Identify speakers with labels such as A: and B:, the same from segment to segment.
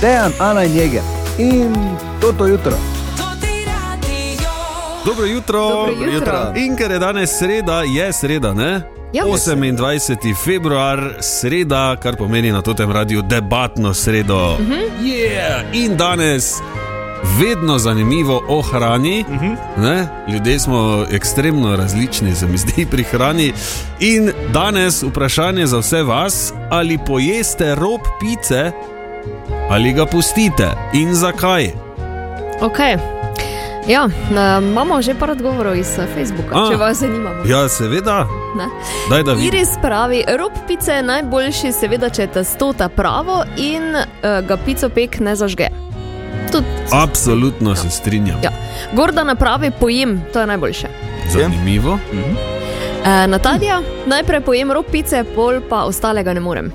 A: Dejan, Ana in Jeger in toto jutro.
B: Dobro jutro.
C: Dobro jutro. jutro.
B: In ker je danes sreda, je sreda, ne?
C: Ja.
B: 28. februar, sreda, kar pomeni na tem radiju debatno sredo.
C: Mhm.
B: Uh -huh. yeah. In danes vedno zanimivo o hrani. Uh
C: Mhm.
B: -huh. Ljudje smo ekstremno različni, se mi zdi, pri hrani. In danes vprašanje za vse vas, ali pojeste rob pice ali ga pustite in zakaj.
C: Okay. Ja, eh, imamo že par odgovorov iz eh, Facebooka,
B: A.
C: če vas zanimamo.
B: Ja, seveda,
C: Ne.
B: daj da vidim.
C: Iris pravi, rob pice je najboljši, seveda, če je testota pravo in uh, ga pico pek ne zažge. Tudi,
B: Absolutno se strinjam.
C: ja. Gordana pravi, pojem, to je najboljše.
B: Zanimivo.
C: E, Natalija, najprej pojem rob pice, pol pa ostalega ne morem.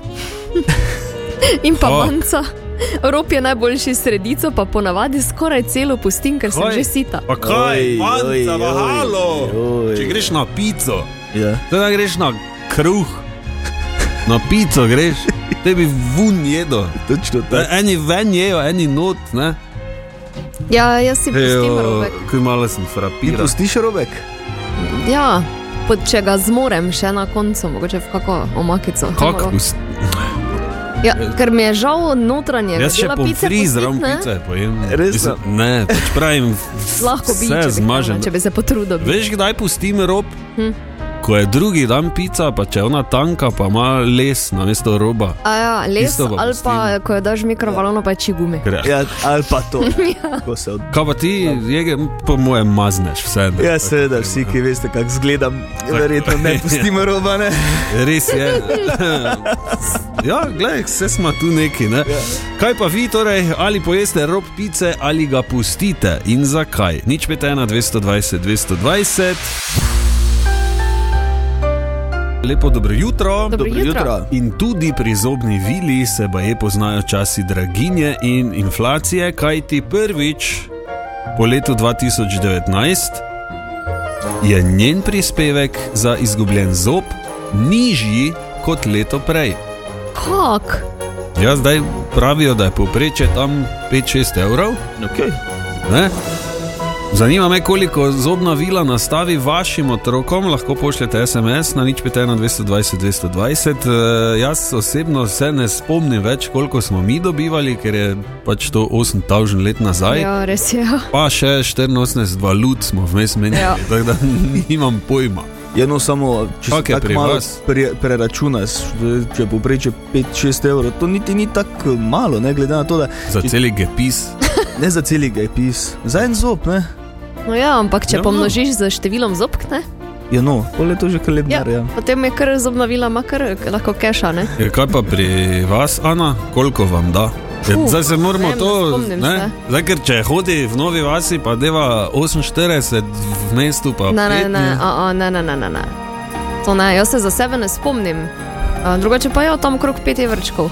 C: In pa
B: O.
C: manca. Rob je najboljši s sredico, pa ponavadi skoraj celo pustim, ker sem
B: Kaj?
C: že sita.
B: Pa
D: Oj,
B: kaj,
D: oj,
B: manjka,
D: oj,
B: halo.
D: oj.
B: Če greš na pico,
D: Ja.
B: zdaj greš na kruh, na pico greš, tebi vun jedo.
D: Točno
B: E, Eni ven jejo, eni not, ne.
C: Ja, jaz si pustim
B: Ejo,
C: robek.
B: kaj malo sem
D: Ti
B: frapiral.
D: pustiš robek?
C: Ja, pod, če ga zmorem še na koncu, mogoče v kako omakico.
B: Kako
C: Malo.
B: pust?
C: Ja, ker mi je žal notranje.
B: Jaz še
C: dela pice
B: pomfri zraven
C: pustiti, ne?
B: pice pojem.
D: Resno?
B: Mislim, Ne, pač pravim,
C: Lahko bi,
B: vse
C: če bi,
B: zmažem.
C: hvala, če bi se potrudil.
B: Veš, kdaj pustim rob?
C: Hm.
B: Ko je drugi dan pica, pa če je ona tanka, pa ima les na mesto roba.
C: A ja, les
B: Tisto pa
C: ali pa,
B: pustim.
C: ko jo daš v mikrovalovno, pa je čigume.
B: Ker,
D: Ja, ali pa to. ja. Ko se od...
B: Kaj pa ti, je, po mojem, mazneš vse? ne?
D: Ja, seveda, vsi, ki veste, kako zgledam, verjetno ne pustimo roba. Ne?
B: Res je. ja, gledaj, vse smo tu neki. Ne?
D: Ja.
B: Kaj pa vi, torej, ali pojeste rob pice ali ga pustite in zakaj? Nič 51, 220, 220. Lepo dobro jutro.
C: Dobro jutro.
B: In tudi pri zobni vili se baje poznajo časi draginje in inflacije, kajti prvič po letu 2019 je njen prispevek za izgubljen zob nižji kot leto prej.
C: Kak?
B: Ja, zdaj pravijo, da je povprečje tam 5-6 evrov.
D: Okay.
B: Ne? Zanima me, koliko zobna vila nastavi vašim otrokom, lahko pošljete SMS na nič 51-220-220. 220. E, jaz osebno se ne spomnim več, koliko smo mi dobivali, ker je pač to 8000 let nazaj. Ja.
C: Ja, res je.
B: Pa še 84 valut smo vmes menjali, ja.
C: Ja.
B: tako da nimam pojma.
D: Je no samo, če se
B: Kako je
D: tako
B: pri
D: malo
B: vas?
D: pre, preračunaš, če poprečje 5-6 evrov, to niti ni tako malo, ne glede na to, da
B: Za celi gepis.
D: ne za celi ga je pis, za en zob, ne?
C: No ja, ampak
B: Ja,
C: če
B: no.
C: pomnožiš z številom zobk, ne?
D: Je no, pol je to že kalendar. Ja.
C: Potem je kar zobnavila, ima kar lahko keša, ne?
B: Ja, Kaj pa pri vas, Ana, koliko vam da? Ja,
C: Fuh,
B: Zdaj se moramo
C: ne vem, ne
B: to.
C: spomnim se.
B: Zdaj, ker če hodi v novi vasi, pa deva 48 v mestu, pa
C: Ne, ne,
B: pet,
C: ne, a, a, ne, ne, ne, ne, ne. To ne, jaz se za sebe ne spomnim. A, drugače pa je tam okrog pet evrčkov.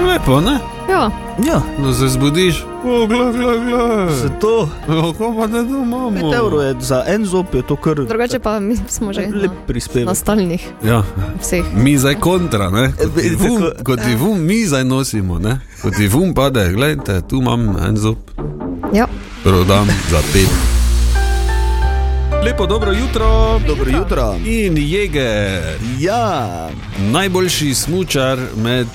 B: Lepo, ne?
C: Ja,
D: ja,
B: No, se zbudiš. O, gla, gla, gla.
D: zato
B: Kako pa da domamo?
D: 5 evrov je za en zob, je to kar
C: drugače pa mi smo že
D: lep
C: na, na
D: prispevek.
C: stalnih
B: Ja,
C: vseh.
B: mi zdaj kontra, ne? Kot ti
D: E,
B: vum,
D: tako.
B: kot ti vum mi zdaj nosimo, ne? Kot ti vum pade, gledajte, tu imam en zob.
C: Ja.
B: Prodam za pet. Lepo, dobro jutro.
D: Dobro jutro.
B: In jege,
D: Ja,
B: najboljši smučar med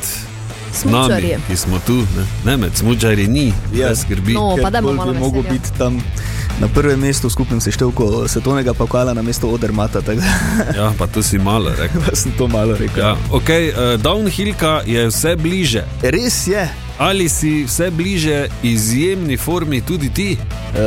B: nami,
C: Smučarji.
B: ki smo tu, ne, ne med smučarji ni,
D: Ja.
B: ne skrbi.
C: No. O, pa
D: Ker
C: dajmo
D: bolj
C: malo
D: bi mogel
C: veselja.
D: biti tam na prvem mestu v skupnem seštevku svetovnega pokala na mesto Odermata, tako da
B: Ja, pa tu si malo rekel.
D: sem to malo rekel.
B: Ja, okay, uh, downhillka je vse bliže.
D: Res je. eh,
B: Ali si vse bliže izjemni formi tudi ti?
D: Uh,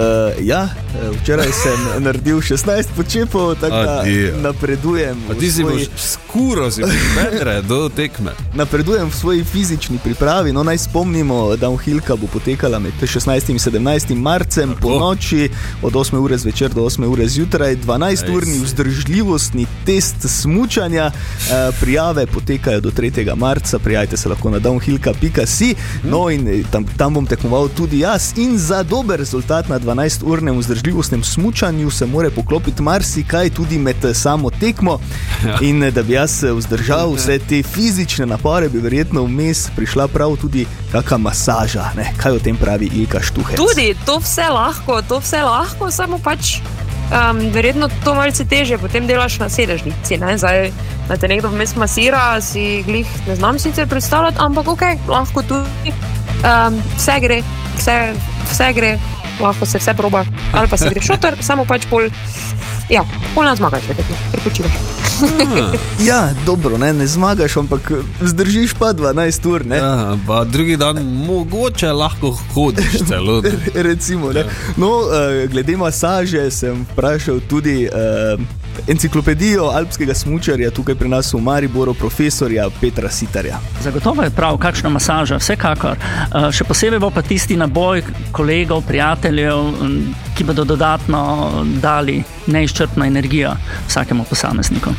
D: ja, eh, včeraj sem naredil 16 počepov, tako da
B: Adijo.
D: napredujem
B: A
D: v,
B: ti si boš
D: svoji,
B: skuro, si boš vedre do tekme.
D: napredujem v svoji fizični pripravi. No, naj spomnimo, da downhillka bo potekala med 16 in 17 marcem Tako. po noči, od 8 ure zvečer do 8 ure zjutraj, 12-urni
B: Ej,
D: vzdržljivostni test smutanja. Eh, Prijave potekajo do 3. marca, prijavite se lahko na downhillka.si. No, in eh, tam, tam bom tekmoval tudi jaz. In za dober rezultat na na 12-urnem vzdržljivostnem smučanju se more poklopiti marsikaj, tudi med eh, samo tekmo. In eh, da bi jaz eh, vzdržal vse te fizične napore, bi verjetno vmes prišla prav tudi kakšna masaža. Ne? Kaj o tem pravi Ilka Štuhe?
E: Tudi to vse lahko, to vse lahko, samo pač. Um, verjetno to malce teže, potem delaš na sedežnici. Ne? Zdaj, da te nekdo vmes masira, si glih ne znam sicer predstavljati, ampak ok, lahko tudi. Um, vse gre, vse, vse gre, lahko se vse proba. Ali pa se greš šotor, samo pač pol. Ja, pol nas zmagaš, da te počivaš.
D: Ja, dobro, ne, ne zmagaš, ampak zdržiš pa 12 ur. Ne?
B: Ja, pa drugi dan mogoče lahko hodiš celo. ne.
D: Recimo,
B: Ja.
D: ne. no, eh, glede masaže sem vprašal tudi eh, enciklopedijo alpskega smočarja, tukaj pri nas v Mariboru, profesorja Petra Sitarja.
F: Zagotovo je prav, kakšna masaža, vsekakor. Eh, Še posebej bo pa tisti naboj kolegov, prijateljev, m, ki bodo dodatno dali neizčrpno energijo vsakemu posamezniku.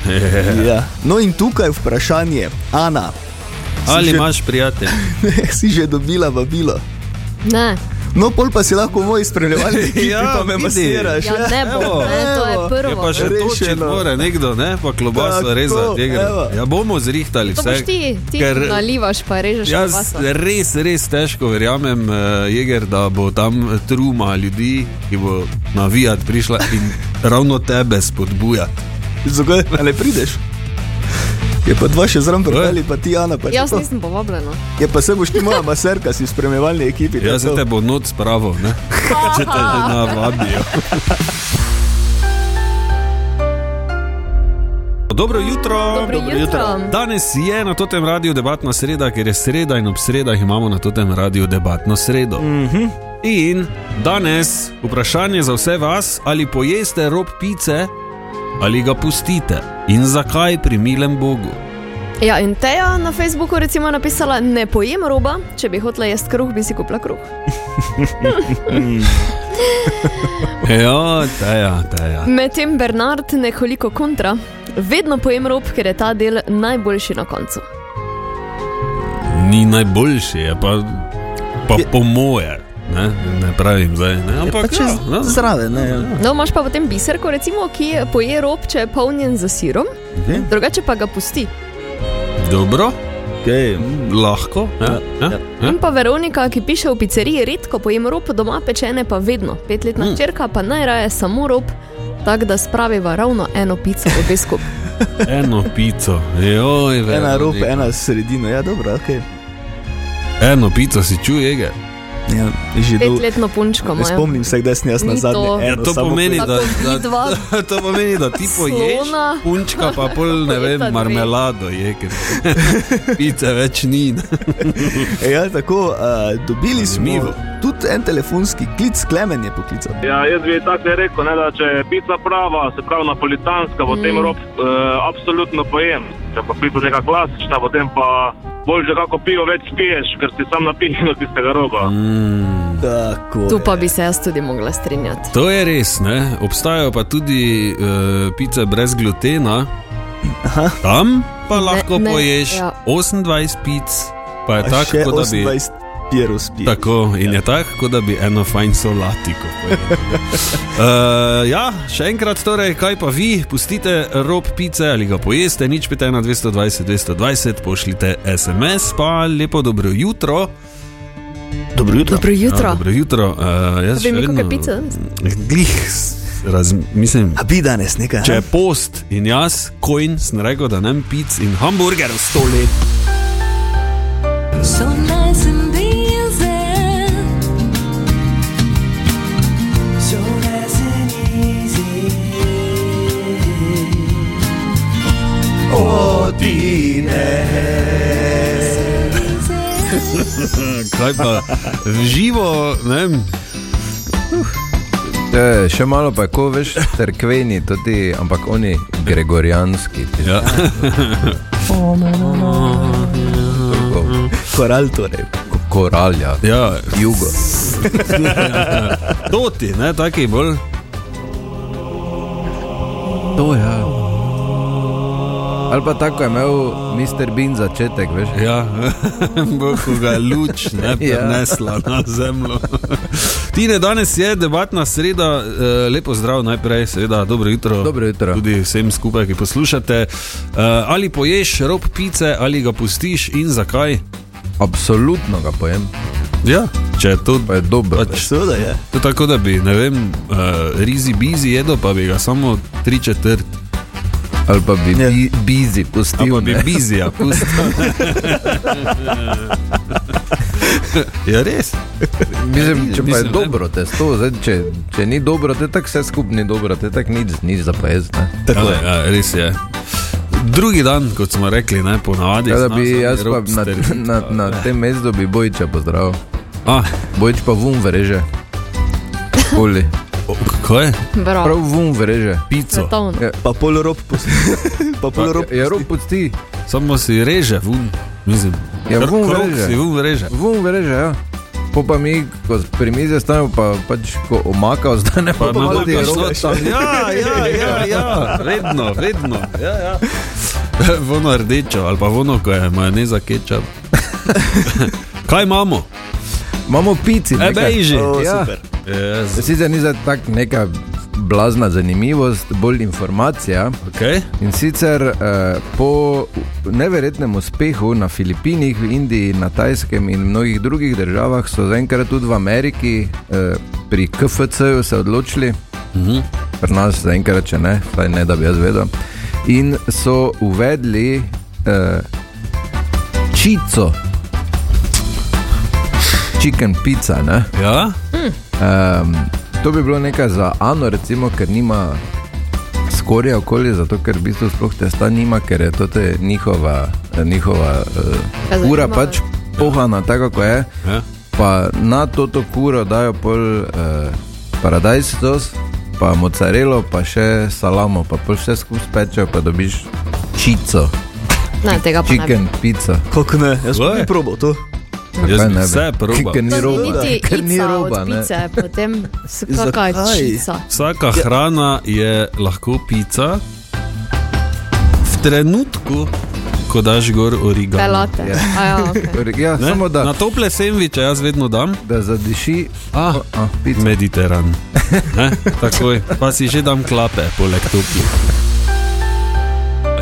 D: Ja. No, in tukaj je vprašanje, Ana,
B: Ali
D: še-
B: imaš prijatelje?
D: si že dobila vabilo?
C: Ne,
D: No, pol pa si lahko moj spremljevalec, ki
B: Ja,
D: pa me
B: vidi.
D: masiraš.
C: ja, ne
B: Evo,
C: bo, ne, to
D: evo.
C: je
B: Je
C: prvo.
B: pa še
D: Rešeno.
B: točen mora nekdo, ne? Pa klobasa
D: Tako,
B: reza, tega.
D: evo.
B: Ja, bomo zrihtali
C: To
B: vse.
C: boš ti, ti
B: ker-
C: nalivaš pa režeš na
B: Jaz
C: vas.
B: res, res težko verjamem, eh, Jeger, da bo tam truma ljudi, ki bo navijati prišla in ravno tebe spodbujati.
D: Zagaj, a ne prideš? Je pa dva še zraven preveli, pa ti Ana. Pa
C: Jaz
D: to.
C: nisem povabljena.
D: Je pa se boš ti moja maserka, si v spremljevalni ekipi.
B: Jaz
C: Ja,
B: se
D: tako.
B: Ja, te bo noč spravo, ne? Če te že navabijo. Dobro jutro.
C: Dobro jutro.
B: Danes je na tem radiju debatna sreda, ker je sreda in ob sredah imamo na tem radiju debatno sredo. Mm
C: Mhm.
B: -hmm. In danes vprašanje za vse vas, ali pojeste rob pice ali ga pustite in zakaj pri milem Bogu.
C: Ja, in Teja na Facebooku recimo je napisala, ne pojem roba, če bi hotela jesti kruh, bi si kupila kruh.
B: Ja, teja, teja.
C: Medtem Bernard nekoliko kontra, vedno pojem rob, ker je ta del najboljši na koncu.
B: ni najboljši, je pa, pa po moje. Ne, ne pravim zdaj, ne? ampak
D: Pač je
B: ja, no.
D: Zraven, ne.
C: No, imaš pa potem biserko, recimo, ki poje rob, če je polnjen za sirom,
D: Mhm.
C: drugače pa ga pusti.
B: dobro,
D: Okay.
B: lahko. Ja, ja,
A: Hm?
B: ja.
C: In pa Veronika, ki piše v pizzeriji, redko pojem rob, doma pečene pa vedno. Petletna
A: Hm.
B: Mm.
C: hčerka pa najraje samo rob, tako da spraviva ravno eno pico obe skupaj.
B: ja, Eno pico, joj, Veronika.
D: Ena rob, ena sredina, ja, dobro, ok.
B: eno pico si čuje, ga.
D: Ja, že dol-
C: Petletno
D: Ne
C: punčko imajo.
D: spomnim se, kdaj sem jaz
C: Ni
D: na zadnje.
C: to. Ja,
B: Ja,
D: eno
B: to,
D: samo
B: pomeni,
D: pojedel.
B: da, da,
C: Tako
B: da, to pomeni, da ti poješ
C: Slona.
B: punčka, pa pol ne
C: Pojeta
B: vem,
C: dve.
B: marmelado je, ker pice več ni. ne.
D: Ja, tako, uh, dobili smo
B: Zanimivo.
D: tudi en telefonski klic, Klemen je poklical.
G: Ja, jaz bi tako ne rekel, ne, da če je pica prava, se pravi napolitanska, potem mm. rob eh, absolutno pojem. Če pa pica neka klasična, potem pa bolj že kako pijo več piješ, ker si sam napihnil od tistega roba.
B: Mm.
D: Tako.
C: Tu
D: je.
C: pa bi se jaz tudi mogla strinjati.
B: To je res, ne? obstajajo pa tudi uh, pice brez glutena. Aha. Tam pa lahko
C: ne,
B: ne, poješ
C: ja.
B: ja. 28 pic, pa je
D: A
B: tako,
D: še
B: kot da bi.
D: 28 pierov spil.
B: Tako in je tako, kot da bi eno fajn solatiko. pojedel. uh, ja, še enkrat, torej, kaj pa vi, pustite rob pice ali ga pojeste, nič pete na 220, 220, pošljite SMS, pa lepo dobro jutro.
D: Dobro jutro.
C: Dobro jutro.
B: Ja, dobro jutro. Uh, jaz
C: Bi
B: še
C: mi
B: vedno.
C: kakšne pice danes?
B: Glih, raz, mislim.
D: A bi danes nekaj? a?
B: Če je post in jaz, kojn, sem rekel, da nem pic in hamburger v sto let.
H: So nice and easy. So nice and easy.
B: Kaj pa v živo, ne vem,
A: E, še malo pa, ko veš, cerkveni, to ti, ampak oni gregorijanski. ti
B: ja.
A: tako,
B: Mhm.
D: Koral torej.
A: ko- Koralja,
B: ja.
A: jugo.
B: Toti, ne, taki bolj. To je. Ja.
A: Ali pa tako je imel Mr. Bean začetek, veš.
B: Ja, bohu ga je luč ne
A: Ja.
B: prenesla na zemljo. Tine, danes je debatna sreda, eh, lepo zdrav najprej, seveda, dobro jutro.
A: Dobro jutro.
B: Tudi vsem skupaj, ki poslušate. Eh, Ali poješ rob pice, ali ga pustiš in zakaj?
A: Absolutno ga pojem,
B: Ja, če je to.
A: pa je dobro.
B: Pač,
D: Seveda ja. je.
B: to je tako da bi, ne vem, uh, rizi bizi jedel, pa bi ga samo tri četrt.
A: Ali pa bi
D: Ja.
A: bi bizi
B: Ali
A: pustil.
B: pa bi
A: ne.
B: bizija pustil. ja, res.
A: Mislim, če pa je
B: Mislim, ne.
A: dobro testo, zdaj, če, če ni dobro, te tako vse skupaj ni dobro, te tako nič, nič za pojez.
B: Tako je, ja, res je. Drugi dan, kot smo rekli, ne ponavadi.
A: Kaj Ja, da
B: zna
A: bi
B: za
A: jaz pa na,
B: robster-
A: na,
B: ja.
A: na tem mestu bi bojča pozdravil.
B: A,
A: Bojč pa vum vereže. Koli.
B: o, kaj je?
A: Prav
C: Bravo.
A: vum vereže.
B: Pico.
C: Svetovno.
A: Ja.
D: Pa pol rob poslušaj. Pa pol rob.
A: Ja, rob pusti.
B: Samo si reže, vun, mislim.
A: Ja,
B: Kar
A: vun
B: krog
A: reže.
B: Si vun reže.
A: Vum vereže, ja. Po pa mi, ko pri mizi stanemo, pa pač ko omaka ostane, pa,
B: Pa
A: pa
B: malo
A: tudi
B: ti
A: rob.
B: tam. Ja, ja, ja, ja, vedno, vedno. Ja, ja. Vono rdečo ali pa vono, ko je majoneza kečap. Kaj imamo?
A: Imamo pici,
B: E,
A: nekaj.
B: bejži.
D: O,
A: Ja.
D: super.
B: Yes.
A: Sicer ni za tak neka blazna zanimivost, bolj informacija.
B: Okay.
A: In sicer eh, po neverjetnem uspehu na Filipinih, v Indiji, na Tajskem in mnogih drugih državah so zaenkrat tudi v Ameriki eh, pri KFC-ju se odločili,
B: Mhm.
A: pri nas zaenkrat še ne, vsaj ne da bi jaz vedel. In so uvedli eh, čico, chicken pizza. Ne?
B: Ja?
A: Um, to bi bilo nekaj za Ano, recimo, ker nima skorja okoli, zato ker v bistvu sploh testa nima, ker je to te njihova, njihova
C: Ja,
A: uh, ura
C: zanima
A: pač pohana, tako kot je.
B: ja.
A: Pa na to to kuro dajo pol uh, paradajz sos, pa mocarelo, pa še salamo, pa pol vse skupaj spečejo, pa dobiš čico,
C: Ne, tega pa ne. bi.
A: chicken pico.
D: Kako ne, jaz
B: Glej.
D: sem bi probal to.
B: Jaz
A: Kaj
B: bi
A: ne bi?
B: vse probal.
A: Ker ni
C: To
A: roba,
C: niti
A: ker ni
C: ica
A: roba.
C: od
A: ne.
C: pice, potem s- kaka
D: Zakaj?
C: čica.
B: Vsaka ja. hrana je lahko pica, v trenutku, ko daš gor origami.
C: Pelate. A Ja, okay.
A: Torej, Ja,
B: Ne?
A: samo
B: Na
A: da,
B: tople sendviče jaz vedno dam.
A: da zadiši
B: Ah,
A: a, pico.
B: Mediteran. Ne? Takoj, pa si že dam klape, poleg toplih.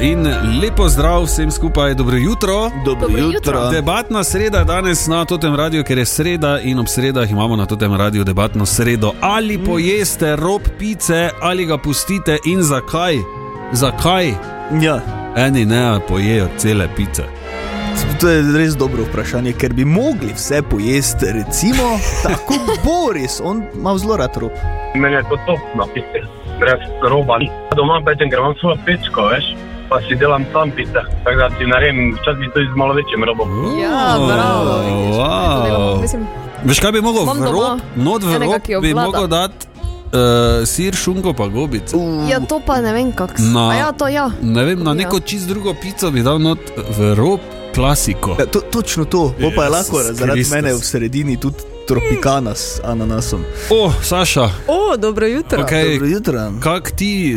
B: In lepo zdrav vsem skupaj, dobro jutro.
D: Dobro
C: Dobro
D: jutro.
B: Debatna sreda je danes na tem radiju, ker je sreda in ob sredah imamo na tem radiju debatno sredo. Ali pojeste rob pice, ali ga pustite in zakaj? Zakaj?
D: Ja,
B: Eni ne pojejo cele pice.
D: to je res dobro vprašanje, ker bi mogli vse pojesti, recimo, tako Boris, on ima zelo rad rob.
G: Meni je to topno, brez roba. Doma pečem, ker imam svojo pečko, veš, pa si delam sam pice. Tako da si naredim, včasih tudi z malo večjim robom.
C: Ja, bravo, vidiš. To delamo,
B: Wow.
C: Mislim,
B: Veš kaj bi mogel
C: Imam
B: v
C: doma
B: rob, not v
C: enega,
B: rob
C: ki jo
B: bi
C: obvlada.
B: mogel dati uh, sir, šunko pa gobice.
C: ja, to pa ne vem, kako se.
A: No.
B: Na-
C: A Ja, to ja.
B: Ne vem, na
C: Ja.
B: neko čist drugo pico bi dal not v rob klasiko.
D: Ja,
C: Eh.
D: to, točno to, Bo pa je
B: Jezus
D: lahko zaradi
B: Kristus.
D: mene v sredini tudi tropikana s ananasom.
B: O, oh, Saša,
I: O, dobro jutro.
B: okay,
D: Dobro jutro.
B: Kak ti,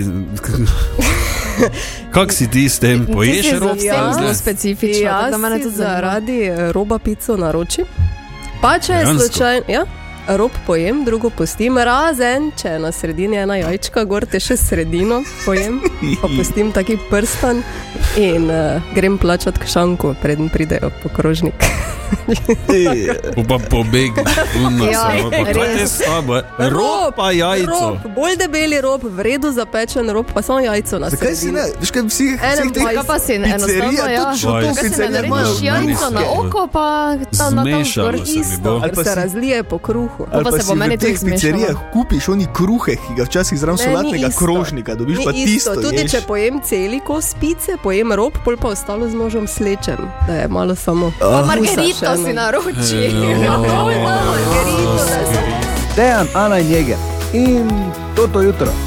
B: kak si ti s tem, poješ
C: si
B: rob?
C: za vse zelo specifično. tako
I: Jaz
C: da mene
I: Ja, si
C: tudi zanima.
I: zaradi eh, roba pico naročim. Pa če je
B: Dejansko?
I: slučajno, ja, rob pojem, drugo pustim, razen če je na sredini ena jajčka, gor te še sredino pojem, pa pustim taki prstan in uh, grem plačat k šanku, preden pridejo pokrožnik.
B: Pa pobegne, unno
C: Ja,
B: samo. Pa Kaj je
C: res.
B: slabo? Ropa jajco.
I: Rob, bolj debeli rob, v redu zapečen rob, pa samo jajco na
D: Zakaj si
I: sredini.
D: ne? Veš kaj, vsi
C: Enem pa
D: teh
C: kaj pa si enostavno,
D: pizzerija,
C: ja.
D: točno
B: Kaj
D: to
B: si
C: Kaj se
D: pizzerije
C: naredi
D: imajo.
C: šijanco na oko, pa tam na tam
B: Zmešalo
C: zgor
B: se mi bo.
C: isto.
D: Ali pa
I: Se
D: si-
I: razlije po kruhu.
D: Ali
C: pa se bo
D: si
C: meni
D: v
C: tudi
D: teh
C: zmešalo.
D: pizzerijah kupiš oni kruhe, ki ga včasih zraven
I: Ne,
D: solatnega
I: ni isto.
D: krožnika dobiš,
I: Ni
D: pa tisto.
I: tudi
D: ješ.
I: če pojem celiko spice, pojem rob, pol pa ostalo z nožem slečem, da je malo samo.
C: Pa
D: Ah,
C: Margerito si naroči.
B: Ja. Margarito,
A: Dejan, Ana in Jeger. In to to jutro.